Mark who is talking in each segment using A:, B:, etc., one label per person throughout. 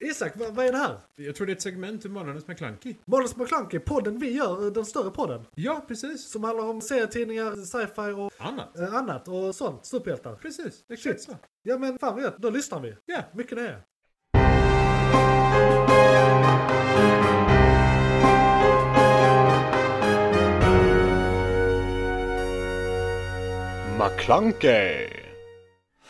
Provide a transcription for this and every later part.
A: Isak, vad, vad är det här?
B: Jag tror det är ett segment ur Månadens McKlunky.
A: Månadens McKlunky, podden vi gör, eh, den större podden.
B: Ja, precis.
A: Som handlar om serietidningar, sci-fi och
B: Annat.
A: eh, annat och sånt. Superhjältar.
B: Precis, exakt så.
A: Ja men fan vad gött, då lyssnar vi.
B: Ja,
A: Mycket det är.
C: McClunkey!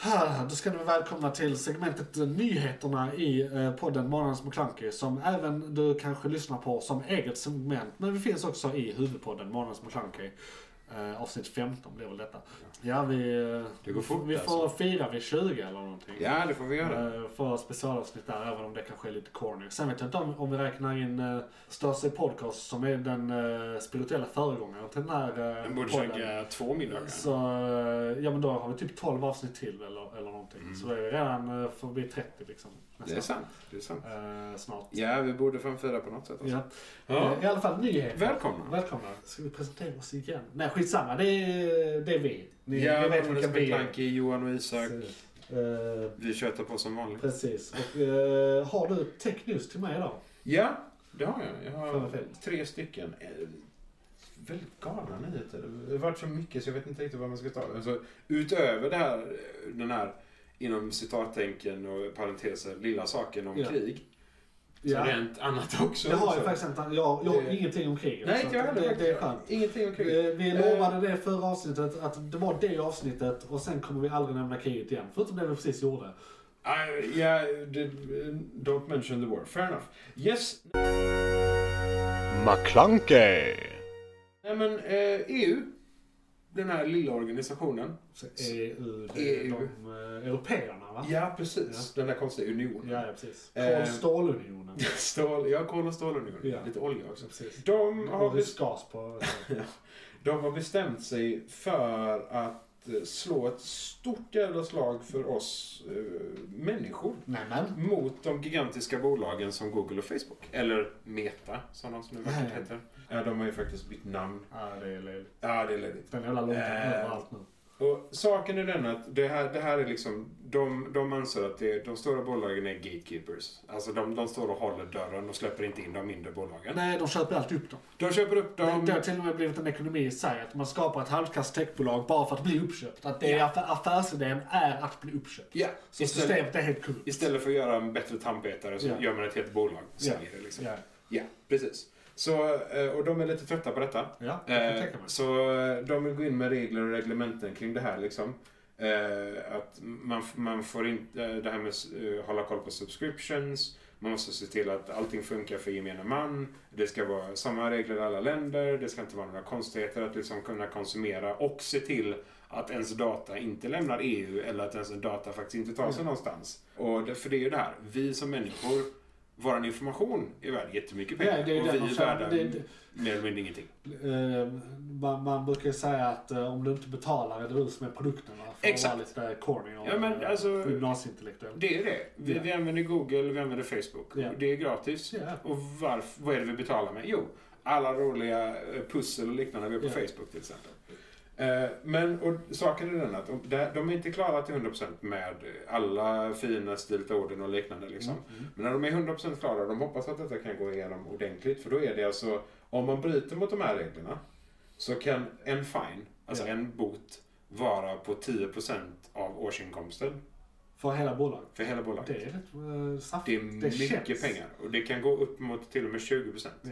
A: Här, då ska ni vara välkomna till segmentet eh, Nyheterna i eh, podden Månadens McKlunky som även du kanske lyssnar på som eget segment. Men vi finns också i huvudpodden Månadens McKlunky. Eh, avsnitt 15 blir väl detta. Ja, vi, eh,
D: Det går fort,
A: vi får
D: alltså.
A: fira vid 20 eller någonting.
D: Ja, det får vi göra.
A: Eh, För specialavsnitt där, även om det kanske är lite corny. Sen vet jag inte om, om vi räknar in uh, Störse Podcast som är den uh, spirituella föregångaren till den här eh,
D: Den borde
A: podden.
D: käka två middagar.
A: Så, eh, ja men då har vi typ 12 avsnitt till eller, eller någonting. Så då är vi redan eh, förbi 30 liksom.
D: Mm. Det är sant. Det är sant.
A: Eh, snart.
D: Ja, vi borde fan fira på något sätt. Alltså.
A: Ja.
D: Ja.
A: Eh, I alla fall nyheter.
D: Välkomna!
A: Välkomna. Ska vi presentera oss igen? Nej skitsamma, det är, det är vi. Ni, ni
D: Ja,
A: vet vilka
D: Månadens
A: vi är.
D: McKlunky, Johan och Isak.
A: Eh,
D: Vi tjötar på som vanligt.
A: precis. Och, eh, har du tech news till mig idag?
D: Ja, det har jag. Jag
A: Fan,
D: har
A: vad fint.
D: tre stycken. eh, Väldigt galna nyheter. Det har varit så mycket så jag vet inte riktigt vad man ska ta. Alltså, utöver det här, eh, den här inom citattänken och parenteser, lilla saken om
A: Ja.
D: krig. Så
A: Ja.
D: har det hänt annat också.
A: Jag har
D: Så-
A: ju faktiskt inte, jag, jag har
D: Eh,
A: ingenting om kriget.
D: Nej,
A: så
D: inte jag
A: att
D: heller.
A: det, det är skönt.
D: Ingenting om krig.
A: Eh, Vi lovade det förra avsnittet, att det var det avsnittet och sen kommer vi aldrig nämna kriget igen. Förutom det vi precis gjorde.
D: I, yeah, the, don't mention the war. Fair enough. Yes.
C: McClunkey!
D: Nej men eh, EU, den här lilla organisationen.
A: Så EU, det är
D: EU.
A: de eh, europeerna va?
D: E Ja precis, den där konstiga unionen.
A: Ja, ja, precis.
D: Eh,
A: Kol stålunionen.
D: Stål, ja, Mm, kol och stålunion.
A: Ja.
D: Lite olja också.
A: Precis.
D: De har,
A: Och
D: bes-
A: rysk gas på...
D: de har bestämt sig för att eh, slå ett stort jävla slag för oss eh, människor.
A: Nämen.
D: Mot de gigantiska bolagen som Google och Facebook. Eller Meta, som de som nu vackert
A: Nej.
D: heter. Ja, de har ju faktiskt bytt namn.
A: Ja, det är löjligt.
D: Ja, det är löjligt.
A: Den jävla långt
D: Eh.
A: överallt nu.
D: Och saken är den att det här, det här är liksom, de, de anser att det, de stora bolagen är gatekeepers. Alltså de, de står och håller dörren och släpper inte in de mindre bolagen.
A: Nej, de köper alltid upp dem.
D: De köper upp dem.
A: Det, det har till och med blivit en ekonomi i sig, att man skapar ett halvkast techbolag bara för att bli uppköpt. Att det är affär, affärsidén är att bli uppköpt.
D: Ja,
A: Så
D: istället,
A: systemet är helt korrupt.
D: istället för att göra en bättre tandpetare så
A: Ja.
D: gör man ett helt bolag.
A: Ja.
D: Säljer det liksom.
A: Ja,
D: Ja, precis. Så, eh, och de är lite trötta på detta.
A: ja det kan jag
D: Eh,
A: tänka mig.
D: så eh, de vill gå in med regler och reglementen kring det här liksom. Eh, att man, f- man får inte, eh, det här med s- eh, hålla koll på subscriptions. Man måste se till att allting funkar för gemene man. Det ska vara samma regler i alla länder. Det ska inte vara några konstigheter att liksom kunna konsumera och se till att ens data inte lämnar EU eller att ens data faktiskt inte tar sig någonstans. Och det, för det är ju det här, vi som människor, våran information är värd jättemycket pengar.
A: Ja, det är
D: och
A: det
D: vi
A: de
D: är
A: säger.
D: värda
A: Det- det-
D: mer eller mindre ingenting.
A: Eh, man, man brukar ju säga att eh, om du inte betalar är det du som är produkten. va? För
D: Exakt.
A: att vara lite corny och
D: Ja, men
A: eh,
D: alltså-
A: gymnasieintellektuell.
D: Det är det. Vi,
A: Ja.
D: vi använder Google, vi använder Facebook.
A: Ja.
D: Det är gratis.
A: Ja.
D: Och varf, vad är det vi betalar med? Jo, alla roliga eh, pussel och liknande vi har på
A: Ja.
D: Facebook till exempel. Eh, Men och saken är den att de, de- de är inte klara till 100% med alla fina stilta orden och liknande. Liksom.
A: Mm.
D: Men när de är 100% klara, de hoppas att detta kan gå igenom ordentligt. För då är det alltså, om man bryter mot de här reglerna så kan en fine, alltså
A: Ja.
D: en bot, vara på 10% av årsinkomsten
A: För hela bolaget.
D: för hela bolaget.
A: Det är rätt uh,
D: Det är
A: saftigt.
D: mycket
A: känns.
D: pengar och det kan gå upp mot till och med 20 procent.
A: Ja.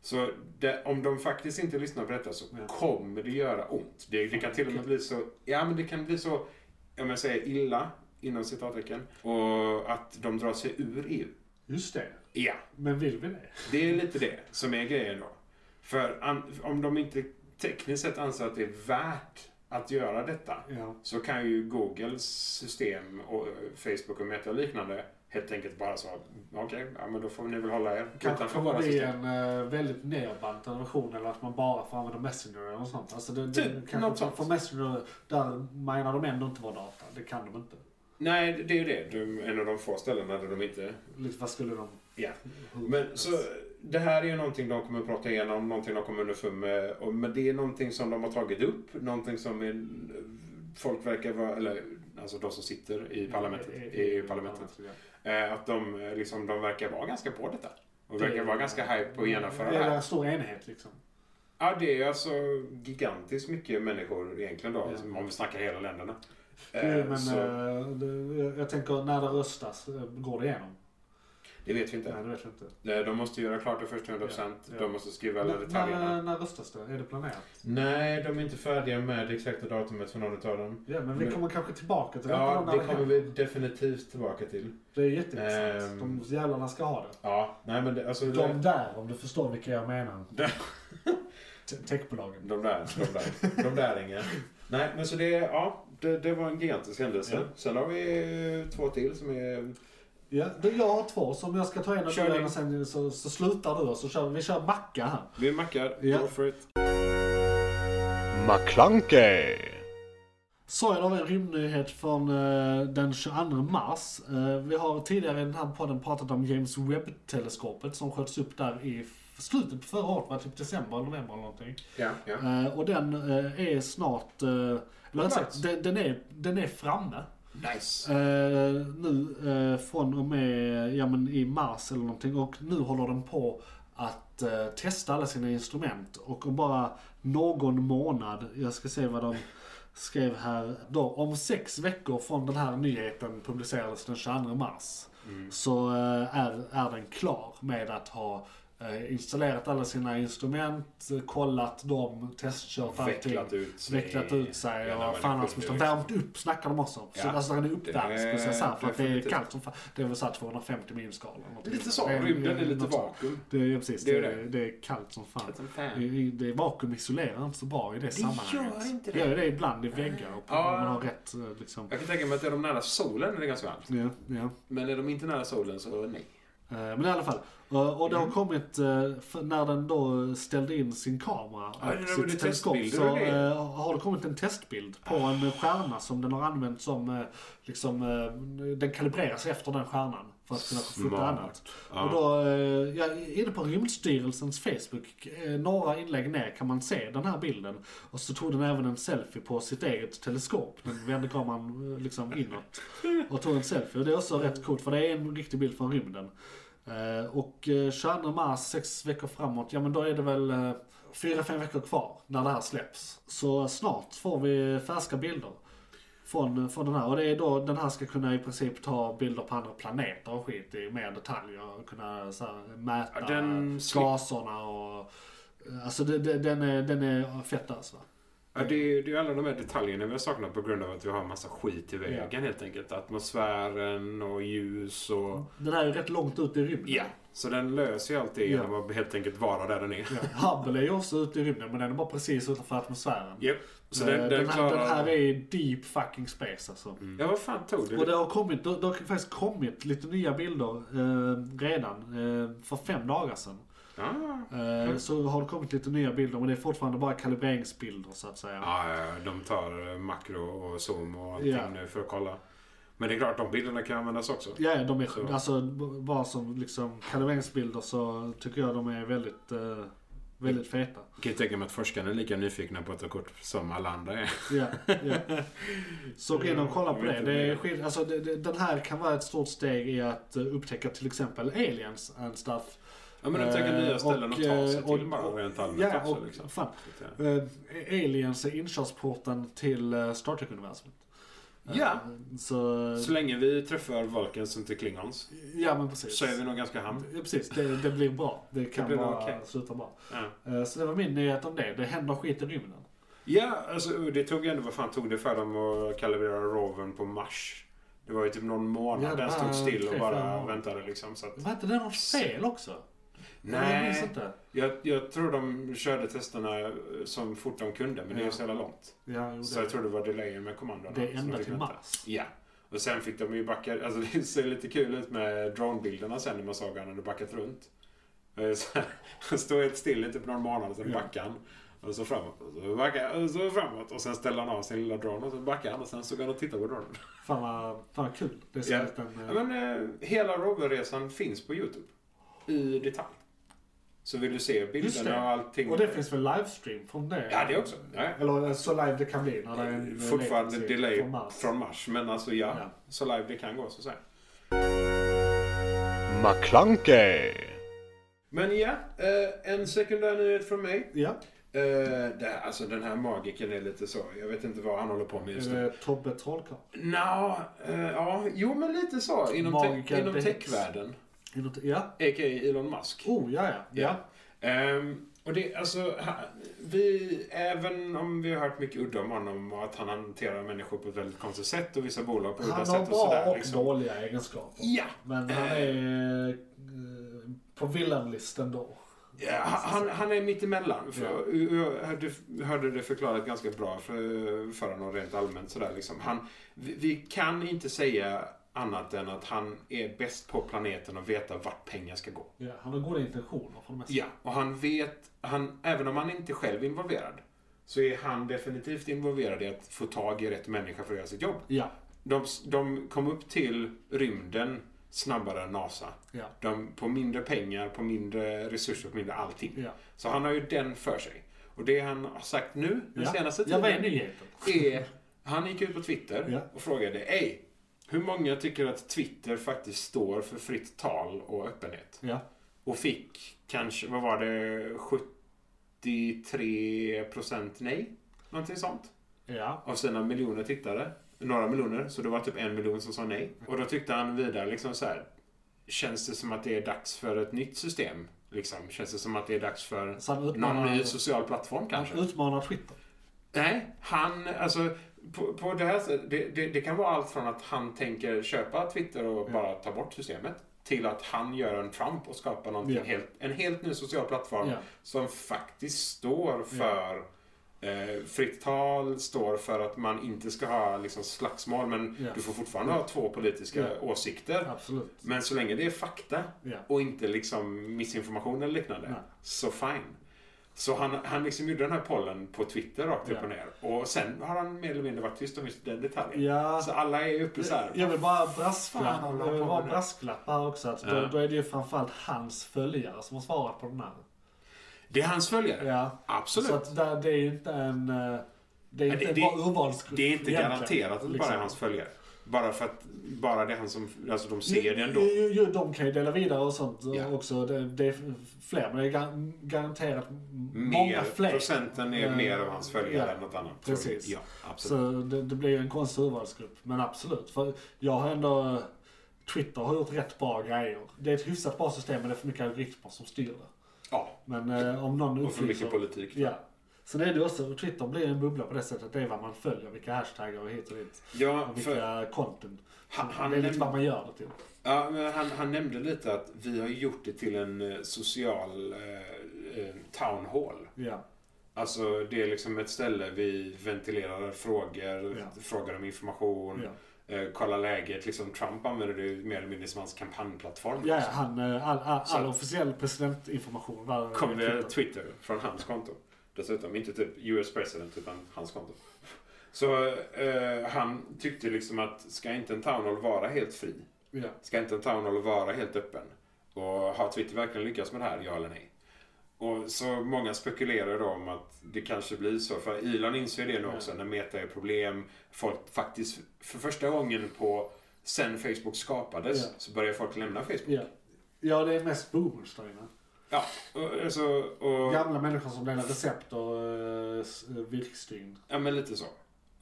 D: Så det, om de faktiskt inte lyssnar på detta så
A: Ja.
D: kommer det göra ont. Det, det kan till och med bli så, ja men det kan bli så, om jag säger illa, inom citattecken, och att de drar sig ur EU.
A: Just det.
D: Ja,
A: Men vill vi det?
D: det är lite det som är grejen då. För an, om de inte tekniskt sett anser att det är värt att göra detta
A: Ja.
D: så kan ju Googles system och eh, Facebook och Meta och liknande helt enkelt bara så okej, ja, men då får ni väl hålla er
A: Kanske
D: utanför
A: kommer det
D: våra
A: bli
D: system.
A: en eh, väldigt nedbantad version eller att man bara får använda Messenger eller något sånt. Alltså det, det,
D: Typ,
A: kanske
D: något
A: inte-
D: sånt.
A: För Messenger, där menar de ändå inte vara data. Det kan de inte.
D: Nej, det- det är ju det. De, en av de få ställena där de inte...
A: Lite, vad skulle de...
D: Ja.
A: hur-
D: Men så det här är ju någonting de kommer att prata igenom, någonting de kommer underfund med. Och, men det är någonting som de har tagit upp, någonting som är, folk verkar vara, eller alltså de som sitter i parlamentet, i parlamentet
A: Ja.
D: Eh, att de, eh, liksom, de verkar vara ganska på detta. Och
A: Det-
D: verkar vara ganska hype på att genomföra
A: Det
D: det
A: är
D: här.
A: en stor enhet liksom.
D: Ja, det är alltså gigantiskt mycket människor egentligen då. alltså,
A: Ja.
D: Om vi snackar hela länderna. Eh,
A: Jo, men
D: så,
A: eh, det, jag- jag tänker när det röstas, eh, går det igenom?
D: det vet vi inte.
A: Nej, det vet jag inte.
D: Eh, De måste göra klart det först 100%.
A: Ja, ja.
D: De måste skriva alla
A: När,
D: detaljerna.
A: när, när röstas det? Är det planerat?
D: Nej, de är inte färdiga med det exakta datumet för någon av dem.
A: Ja, men vi
D: Men-
A: kommer kanske tillbaka till detta
D: Ja,
A: när
D: det
A: händer.
D: kommer vi definitivt tillbaka till.
A: Det är jätteintressant.
D: Ehm.
A: De jävlarna ska ha det.
D: Ja, nej men det, alltså...
A: De där, om du förstår vilka jag menar.
D: De-
A: Te- Techbolagen.
D: De där, de där, de där inga. Nej, men så det, ja, det, det var en gigantisk händelse.
A: Ja.
D: Sen har vi eh, två till som är...
A: Ja, det- jag har två som jag ska ta en och
D: Kör
A: du en
D: din.
A: och sen så, så slutar du och så kör vi kör macka här.
D: Vi mackar,
A: Ja.
D: go for it.
C: McClunkey.
A: Så jag har en rymdnyhet från eh, den 22 mars. Eh, vi har tidigare i den här podden pratat om James Webb-teleskopet som sköts upp där i f- slutet på förra året, va? typ december eller november eller någonting.
D: Ja, ja.
A: Eh, och den eh, är snart, eh, eller rätt
D: plats.
A: sagt, den, den, är, den är framme.
D: Nice.
A: Eh, nu eh, från och med ja, men i mars eller någonting och nu håller den på att eh, testa alla sina instrument och om bara någon månad, jag ska se vad de skrev här då, om sex veckor från den här nyheten publicerades den 22 mars
D: Mm.
A: så eh, är, är den klar med att ha eh, installerat alla sina instrument, eh, kollat dem, testkört allting
D: Vecklat ut sig.
A: vecklat ut sig
D: Ja,
A: och
D: när
A: vad
D: man
A: fan
D: är
A: han skulle stå
D: skyldig, liksom.
A: värmt upp snackar de också. Så
D: Ja.
A: alltså den är uppvärmd
D: Det-
A: så för att det är
D: definitivt.
A: kallt som fan. Det är väl såhär 250 minusgrader. eller någonting.
D: Lite så,
A: Det är-
D: rymden
A: det
D: är lite
A: något sånt.
D: vakuum.
A: Det är, ja, precis,
D: Det
A: det,
D: är
A: är
D: det.
A: det. det är kallt som fan.
D: Kallt som fan.
A: Det- Det, det, vakuum isolerar inte så bra i det, sammanhanget.
D: gör inte det.
A: det gör det ibland i väggar och på,
D: Ja.
A: om man har rätt eh, liksom.
D: Jag kan tänka mig att är de nära solen är det ganska varmt.
A: Ja, ja.
D: Men är de inte nära solen så nej.
A: Eh, Men i alla fall. Och och det
D: Mm.
A: har kommit, eh, för när den då ställde in sin kamera
D: Ja, det
A: och
D: var det
A: sitt teleskop
D: testbilder
A: så
D: och grejer.
A: eh, har det kommit en testbild på en stjärna som den har använt som, eh, liksom, eh, den kalibreras efter den stjärnan för att kunna fota
D: Smart.
A: annat. Och då, eh, ja, inne på Rymdstyrelsens Facebook, eh, några inlägg ner kan man se den här bilden. Och så tog den även en selfie på sitt eget teleskop. Den vände kameran eh, liksom inåt och tog en selfie. Och det är också rätt coolt för det är en riktig bild från rymden. Eh, Och eh, 22 mars, sex veckor framåt, ja men då är det väl eh, fyra, fem veckor kvar när det här släpps. Så snart får vi färska bilder. Från, från den här. Och det är då den här ska kunna i princip ta bilder på andra planeter och skit i mer detaljer. Och kunna så här, mäta
D: Ja, den slip-
A: gaserna och... Alltså det, det, den, är, den är fett alltså.
D: Ja, det, är, ju- det är ju alla de här detaljerna vi har saknat på grund av att vi har en massa skit i vägen helt enkelt. Atmosfären och ljus och...
A: Den här är ju rätt långt ut i rymden.
D: Ja, så den löser ju allt det genom att helt enkelt vara där den är.
A: Ja, Hubble är ju också ute i rymden men den är bara precis utanför atmosfären.
D: Japp. Så
A: Eh,
D: den, den,
A: här,
D: klarar... Mm.
A: den här är deep fucking space alltså.
D: Ja, vad fan tog det?
A: Och det har, kommit, det, det har faktiskt kommit lite nya bilder eh, redan eh, för fem dagar sedan.
D: Ah.
A: Eh, Så har det kommit lite nya bilder men det är fortfarande bara kalibreringsbilder så att säga.
D: Ja, ja, de tar eh, makro och zoom och allting
A: Ja.
D: nu för att kolla. Men det är klart, de bilderna kan användas också.
A: Ja, de är
D: Så.
A: alltså b- bara som liksom kalibreringsbilder så tycker jag de är väldigt, eh, väldigt feta.
D: Jag kan ju tänka mig att forskarna är lika nyfikna på att ta kort som alla andra är.
A: Ja, ja. Så gå in och kolla
D: Jag
A: på
D: vet
A: det.
D: inte
A: det, är
D: det.
A: skit, alltså, det, det. Den här kan vara ett stort steg i att eh, upptäcka till exempel aliens and stuff.
D: Ja, men de tänker nya
A: Eh,
D: ställen att ta sig
A: eh, och-
D: till bara rent allmänt
A: ja,
D: också.
A: och,
D: liksom.
A: fan,
D: Så att,
A: eh, aliens är inkörsporten till eh, Star Trek-universumet. Eh,
D: Ja.
A: Så,
D: ja. Så länge vi träffar Vulcans och inte Klingons
A: ja men precis.
D: så är vi nog ganska hamn.
A: Ja, precis, det, det blir bra. Det kan
D: blir nog
A: bara
D: okej.
A: sluta bra.
D: Ja.
A: Eh, Så det var min nyhet om det. Det händer skit i rymden.
D: Ja, alltså det tog ju ändå, vad fan tog det för dem att kalibrera rovern på Mars? Det var ju typ någon månad
A: Ja,
D: den
A: bara
D: stod still och
A: tre,
D: bara
A: fyra år.
D: väntade liksom. Så att,
A: Var inte det något fel också? Jag minns
D: nej,
A: inte.
D: jag, jag tror de körde testerna eh, så fort de kunde, men det är ju
A: Ja.
D: så jävla långt.
A: Ja, jo,
D: Så jag tror det var delayen med kommandona.
A: Det
D: som
A: är ända
D: de fick
A: till
D: vänta.
A: mars.
D: Ja. Och sen fick de ju backa, alltså det ser lite kul ut med drone-bilderna sen när man såg han hade backat runt. Eh, Så här, han står helt still i typ någon månad och sen
A: Ja.
D: backar han. Och så framåt och så backar och så framåt. Och sen ställer han av sin lilla drone och så backar han och sen så går han och tittar på dronen.
A: Fan vad, fan vad kul. Det är så
D: Ja.
A: en liten, eh,
D: Ja, men eh, hela roverresan finns på Youtube. I detalj. Så vill du se
A: Just det.
D: bilderna och allting.
A: Och det finns väl livestream från det?
D: Ja, det också. Ja.
A: Eller eh, så live det kan bli när det är en
D: Fortfarande
A: latency
D: delay
A: från Mars.
D: från Mars. Men alltså ja,
A: Ja.
D: så live det kan gå så att säga.
C: McClunkey!
D: Men ja, eh, en sekundär nyhet från mig.
A: Ja.
D: Eh, det, här- alltså den här magiken är lite så. Jag vet inte vad han håller på med just
A: Är
D: nu.
A: det Tobbe Trollkarl?
D: Nja, eh, ja, jo men lite så. Inom, te-
A: Magiker,
D: inom
A: det-
D: techvärlden.
A: Är det inte- Ja.
D: A.k.a. Elon Musk.
A: Oh, ja, ja.
D: Ja.
A: ja.
D: Ehm, och det, alltså, ha- vi, även om vi har hört mycket udda om honom och att han hanterar människor på ett väldigt konstigt sätt och vissa bolag på udda
A: Han har
D: sätt och
A: bra
D: sådär.
A: och
D: Liksom.
A: dåliga egenskaper.
D: Ja,
A: Men han är eh, på villanlisten då.
D: Ja, han, han är mittemellan. För Jag hörde, hörde det förklarat ganska bra för, för honom rent allmänt. Sådär, liksom. han, vi, vi kan inte säga annat än att han är bäst på planeten och veta vart pengar ska gå.
A: Ja, han har goda intentioner för det mesta.
D: Ja, och han vet, han, även om han inte själv är involverad, så är han definitivt involverad i att få tag i rätt människa för att göra sitt jobb.
A: Ja.
D: De, de kom upp till rymden snabbare än NASA.
A: Ja.
D: De, på mindre pengar, på mindre resurser, på mindre allting.
A: Ja.
D: Så han har ju den för sig. Och det han har sagt nu, den
A: Ja.
D: senaste
A: ja,
D: tiden,
A: vad är nyheten?
D: är... Han gick ut på Twitter
A: Ja.
D: och frågade Ey, hur många tycker att Twitter faktiskt står för fritt tal och öppenhet?
A: Ja.
D: Och fick kanske, vad var det, 73% nej? Någonting sånt.
A: Ja.
D: Av sina miljoner tittare. Några miljoner, så det var typ en miljon som sa nej. Och då tyckte han vidare liksom så här. Känns det som att det är dags för ett nytt system? Liksom, känns det som att det är dags för
A: Så han
D: någon ny
A: utmanar,
D: social plattform
A: han
D: kanske?
A: utmanar Twitter.
D: Nej, han, alltså på, på det här sättet- det, det, det kan vara allt från att han tänker köpa Twitter och bara ta bort systemet till att han gör en Trump och skapar någonting
A: Ja.
D: helt, en helt ny social plattform
A: Ja.
D: som faktiskt står för eh, fritt tal, står för att man inte ska ha liksom, slagsmål men
A: Ja.
D: du får fortfarande ha två politiska
A: Ja.
D: åsikter.
A: Absolut.
D: Men så länge det är fakta
A: Ja.
D: och inte liksom missinformation eller liknande,
A: Nej.
D: så fine. Så han, han liksom gjorde den här pollen på Twitter rakt upp
A: Ja.
D: och ner. Och sen har han mer eller mindre varit tyst om just den detaljen.
A: Ja.
D: Så alla är uppe så här.
A: Jag vill bara
D: Fan, han
A: brasklappa,
D: håller
A: jag vill
D: på
A: bara
D: med det.
A: brasklappa här också. Att
D: Ja.
A: då, då är det ju framförallt hans följare som har svarat på den här.
D: Det är hans följare.
A: Ja.
D: Absolut.
A: Så att där, det är ju inte en... eh, Det är
D: Men
A: inte
D: det-
A: en bra urvalsgrupp
D: det är inte
A: egentligen, liksom.
D: garanterat att det bara är hans följare. Bara för att bara det är han som, alltså de ser det ändå.
A: Jo, jo, jo, de kan ju dela vidare och sånt eh,
D: Ja.
A: också. Det, det är fler, men det är gar- garanterat m-
D: Mer,
A: många fler.
D: procenten är
A: Eh,
D: mer av hans följare
A: ja.
D: än något annat.
A: Precis.
D: Ja, absolut.
A: Så det, det blir ju en konstig urvalsgrupp. Men absolut. För jag har ändå... eh, Twitter har gjort rätt bra grejer. Det är ett hyfsat bra system, men det är för mycket algoritmer som styr det.
D: Ja,
A: Men eh, om någon
D: och för mycket
A: upplyser...
D: politik.
A: Ja. Sen är det också, och Twitter blir en bubbla på det sättet. Det är vad man följer, vilka hashtaggar och hit och dit.
D: Ja,
A: Och
D: för
A: vilka content.
D: han, han
A: det är lite
D: nämnde-
A: vad man gör det till.
D: Ja, men han, han nämnde lite att vi har gjort det till en eh, social eh, eh, town hall.
A: Ja.
D: Alltså det är liksom ett ställe vi ventilerar frågor,
A: Ja.
D: frågar om information,
A: Ja.
D: eh, kollar läget. Liksom Trump använder det ju mer eller mindre som hans kampanjplattform.
A: Ja, ja, han, eh, all, all,
D: Så
A: all
D: att-
A: officiell presidentinformation var
D: Kom det
A: Twitter.
D: Twitter från hans konto. Dessutom, inte typ US president utan hans konto. Så eh, han tyckte liksom att ska inte en town hall vara helt fri?
A: Ja.
D: Ska inte en town hall vara helt öppen? Och har Twitter verkligen lyckats med det här, ja eller nej? Och så många spekulerar då om att det kanske blir så. För Elon inser det nu också när meta är problem. Folk faktiskt, för första gången på sen Facebook skapades
A: Ja.
D: så börjar folk lämna Facebook.
A: Ja. ja, det är mest boomers där inne.
D: Ja, och, alltså, och,
A: Gamla människor som delar recept och uh, virkesdygn.
D: ja men lite så.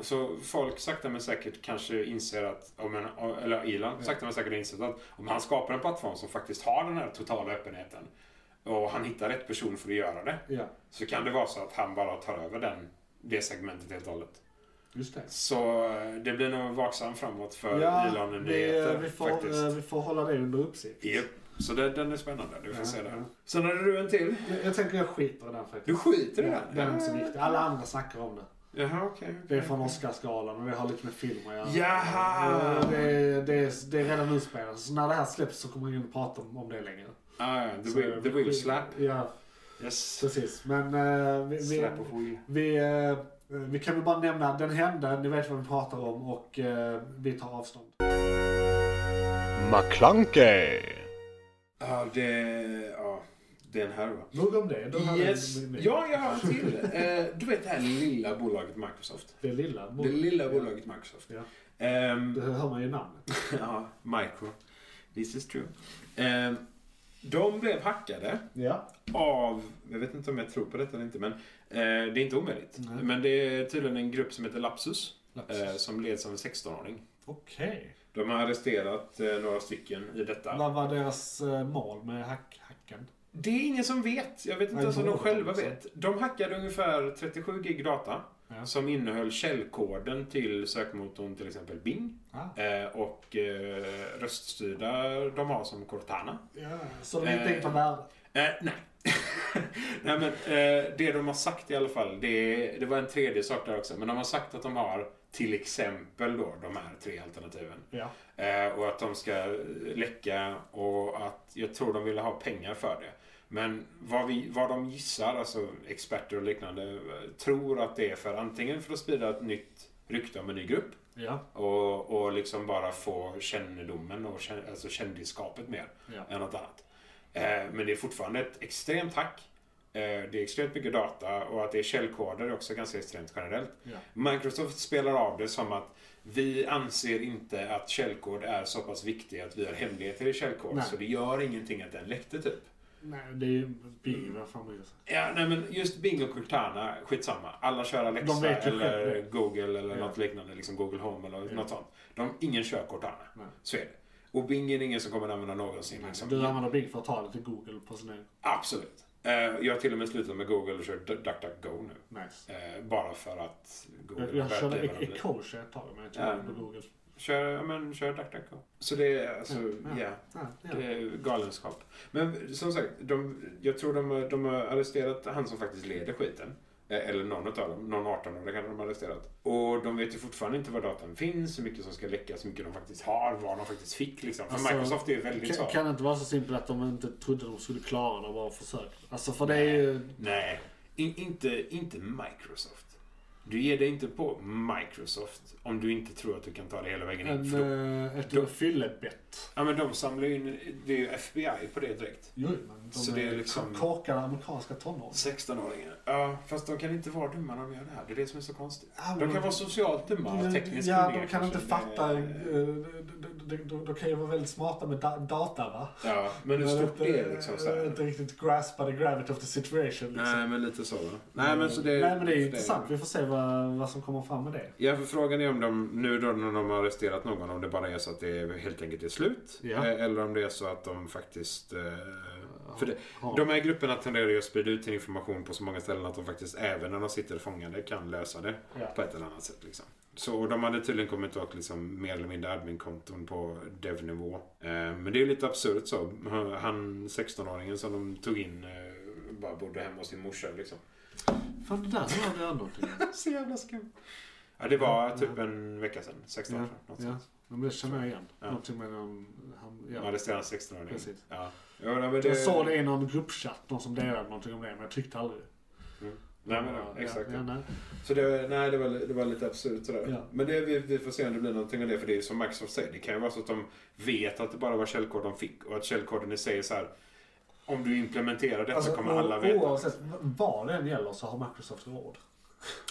D: Så folk sakta men säkert kanske inser att, om en, eller Elon sakta men säkert inser att om han skapar en plattform som faktiskt har den här totala öppenheten och han hittar rätt person för att göra det.
A: Ja,
D: Så kan det vara så att han bara tar över den, det segmentet helt och hållet.
A: just det.
D: Så eh, det blir nog vaksam framåt för
A: Ja,
D: Elon
A: vi, eh,
D: nyheter
A: vi, får,
D: faktiskt.
A: eh, vi får hålla det under uppsikt.
D: Japp. Så det, den är spännande, du får
A: Ja,
D: se där.
A: ja.
D: Sen hade du en till.
A: Jag, jag tänker jag skiter i den faktiskt.
D: Du skiter i
A: Ja,
D: den?
A: den är inte så viktig. Alla andra snackar om det.
D: Jaha, okej.
A: Det
D: okej.
A: är från Oscarsgalan och det har lite med film att göra.
D: Jaha!
A: Eh, Det, är- det, är- det är redan utspelat. Så när det här släpps så kommer ingen prata om, om det längre.
D: Ah, ja, the,
A: Så-
D: wheel, the wheel slap.
A: Ja,
D: Yes.
A: precis. Men eh, vi, vi,
D: Slap of wheel.
A: vi, eh, vi kan väl bara nämna att den hände, ni vet vad vi pratar om och eh, vi tar avstånd.
C: McClunkey!
D: Ja, det... Ja, det är en härva.
A: Nog om det. Då hade
D: Yes.
A: vi- vi-
D: Ja, jag har en till. Eh, Du vet det här lilla bolaget Microsoft.
A: Det lilla.
D: Det lilla bolaget Microsoft.
A: Ja.
D: Ehm,
A: Det hör man ju namnet.
D: Ja, micro. This is true. Eh, de blev hackade
A: Ja.
D: av, jag vet inte om jag tror på detta eller inte, men eh, det är inte omöjligt.
A: Nej.
D: Men det är tydligen en grupp som heter Lapsus, Eh,
A: Lapsus.
D: som leds av en 16-åring.
A: Okej.
D: De har arresterat eh, några stycken i detta.
A: Vad var deras eh, mål med hack hacken?
D: Det är ingen som vet. Jag vet inte
A: Nej,
D: ens om de
A: det är
D: själva
A: så.
D: vet. De hackade ungefär 37 gig data
A: Ja.
D: som innehöll källkoden till sökmotorn till exempel Bing
A: Ah.
D: eh, och eh, röststyrda de har som Cortana.
A: Ja. Så de är inte
D: Eh.
A: enkla värden?
D: Eh, nej. nej men eh, det de har sagt i alla fall, det, det var en tredje sak där också, men de har sagt att de har till exempel då de här tre alternativen.
A: Ja.
D: Eh, och att de ska eh, läcka och att jag tror de ville ha pengar för det. Men vad, vi, vad de gissar, alltså experter och liknande, eh, tror att det är för antingen för att sprida ett nytt rykte om en ny grupp
A: Ja.
D: och, och liksom bara få kännedomen och kän, alltså kändisskapet mer
A: Ja.
D: än något annat. Eh, men det är fortfarande ett extremt hack. Eh, det är extremt mycket data och att det är källkoder är också ganska extremt generellt.
A: Ja.
D: Microsoft spelar av det som att vi anser inte att källkod är så pass viktig att vi har hemligheter i källkod
A: Nej.
D: så det gör ingenting att den läckte typ.
A: Nej, det är ju Bing. Vad fan bryr sig?
D: Ja, nej men just Bing och Cortana, skitsamma. Alla kör Alexa
A: De vet ju
D: eller
A: själva.
D: Google eller
A: Ja.
D: något liknande. Liksom Google Home eller
A: Ja.
D: något sånt. De, ingen kör Cortana.
A: Nej.
D: Så är det. Och Bing är det ingen som kommer att använda någonsin. Liksom.
A: Du använder Bing för att ta det till Google på sin egen. Absolut.
D: Eh, jag har till och med slutat med Google och kör Du- DuckDuckGo nu.
A: Nice.
D: Eh, bara för att Google
A: Jag, jag
D: börjat
A: körde
D: driva dem
A: E-
D: lite.
A: Ecosia ett tag, men jag tog
D: Ja.
A: det på Google.
D: Kör, ja, men, kör DuckDuckGo. Så det är alltså,
A: Ja,
D: ja.
A: Ja, ja.
D: Det är galenskap. Men som sagt, de, jag tror de, har- de har arresterat han som faktiskt leder skiten. Eh, Eller någon av dem. Någon 18-åring hade de arresterat. Och de vet ju fortfarande inte var datan finns, hur mycket som ska läckas, hur mycket de faktiskt har, vad de faktiskt fick liksom. För
A: Alltså,
D: Microsoft är ju väldigt så.
A: Kan, kan det inte vara så simpelt att de inte trodde de skulle klara det och bara försökte? Alltså för det är ju...
D: Nej, in, inte, inte Microsoft. Du ger dig inte på Microsoft om du inte tror att du kan ta det hela vägen in.
A: En,
D: För då,
A: eh, ett
D: då-
A: fyllebett.
D: ja men de samlar ju in, det är ju FBI på det direkt.
A: Jo, men de
D: Så
A: är,
D: det är liksom-
A: korkade amerikanska tonåringar.
D: 16-åringar. Ja, fast de kan inte vara dumma när de gör det här. Det är det som är så konstigt.
A: Ja, men-
D: De kan vara socialt dumma och tekniskt
A: Ja,
D: kunniga
A: de kan inte
D: kanske.
A: fatta. eh,
D: Det-
A: De, de, de, de kan ju vara väldigt smarta med da, data va?
D: Ja, men hur stort
A: inte-
D: det är liksom så här.
A: Inte riktigt graspa the gravity of the situation liksom.
D: Nej, men lite så va? Nej, men så det...
A: Nej men det är ju intressant. Vi får se vad, vad som kommer fram med det.
D: Ja, för frågan är om de nu då när de har arresterat någon, om det bara är så att det helt enkelt är slut.
A: Ja.
D: Eh, Eller om det är så att de faktiskt... eh, För det,
A: Ja.
D: de här grupperna tenderar ju att sprida ut sin information på så många ställen att de faktiskt, även när de sitter fångade, kan lösa det.
A: Ja.
D: på ett eller annat sätt. Liksom. Så och de hade tydligen kommit åt liksom, mer eller mindre adminkonton på dev-nivå. Eh, men det är ju lite absurt så. Han 16-åringen som de tog in eh, bara bodde hemma hos sin morsa. Liksom.
A: Fan det där hörde jag någonting.
D: Så jävla skumt. Ja, det var typ en vecka sedan. 16 år
A: ja,
D: sedan. något
A: ja.
D: sånt.
A: Men det känner jag igen.
D: Ja.
A: Någonting med någon... Han,
D: De
A: ja.
D: arresterade 16-åringen.
A: Precis.
D: Ja. Ja, nej, men det,
A: Jag såg det i någon gruppchatt. Någon som delade någonting om det. Men jag tyckte aldrig.
D: Nej, men, ja, exakt.
A: Ja, ja, nej.
D: Så det, nej, det, var, det var lite absurt sådär.
A: Ja.
D: Men det, vi, vi får se om det blir någonting av det. För det är som Microsoft säger. Det kan ju vara så att de vet att det bara var källkod de fick. Och att källkoden i sig är så här. Om du implementerar detta
A: Alltså,
D: kommer
A: o-
D: alla veta.
A: Oavsett vad den gäller så har Microsoft råd.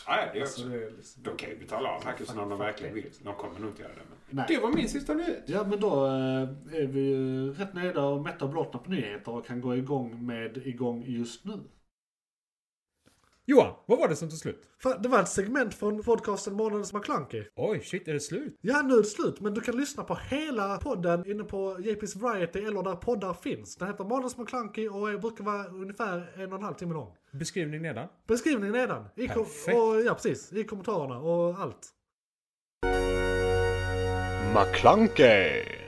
D: Ja, ja, det gör
A: Alltså,
D: också.
A: det är liksom...
D: De kan ju betala av hackersen om de
A: Fuck
D: verkligen
A: it.
D: vill. De kommer nog inte göra det. Men...
A: Nej.
D: Det var min sista nyhet.
A: Ja men då eh, är vi ju rätt nöjda och mätta och blåtna på nyheter och kan gå igång med igång just nu.
B: Johan, vad var det som tog slut?
A: Det var ett segment från podcasten Månadens McKlunky.
B: Oj, shit, är det slut?
A: Ja, nu är det slut, men du kan lyssna på hela podden inne på JP's Variety eller där poddar finns. Den heter Månadens McKlunky och är- brukar vara ungefär en och en halv timme lång.
B: Beskrivning nedan.
A: Beskrivningen nedan. I kom-
B: Perfekt.
A: och, ja, precis. I kommentarerna och allt.
C: McClunkey!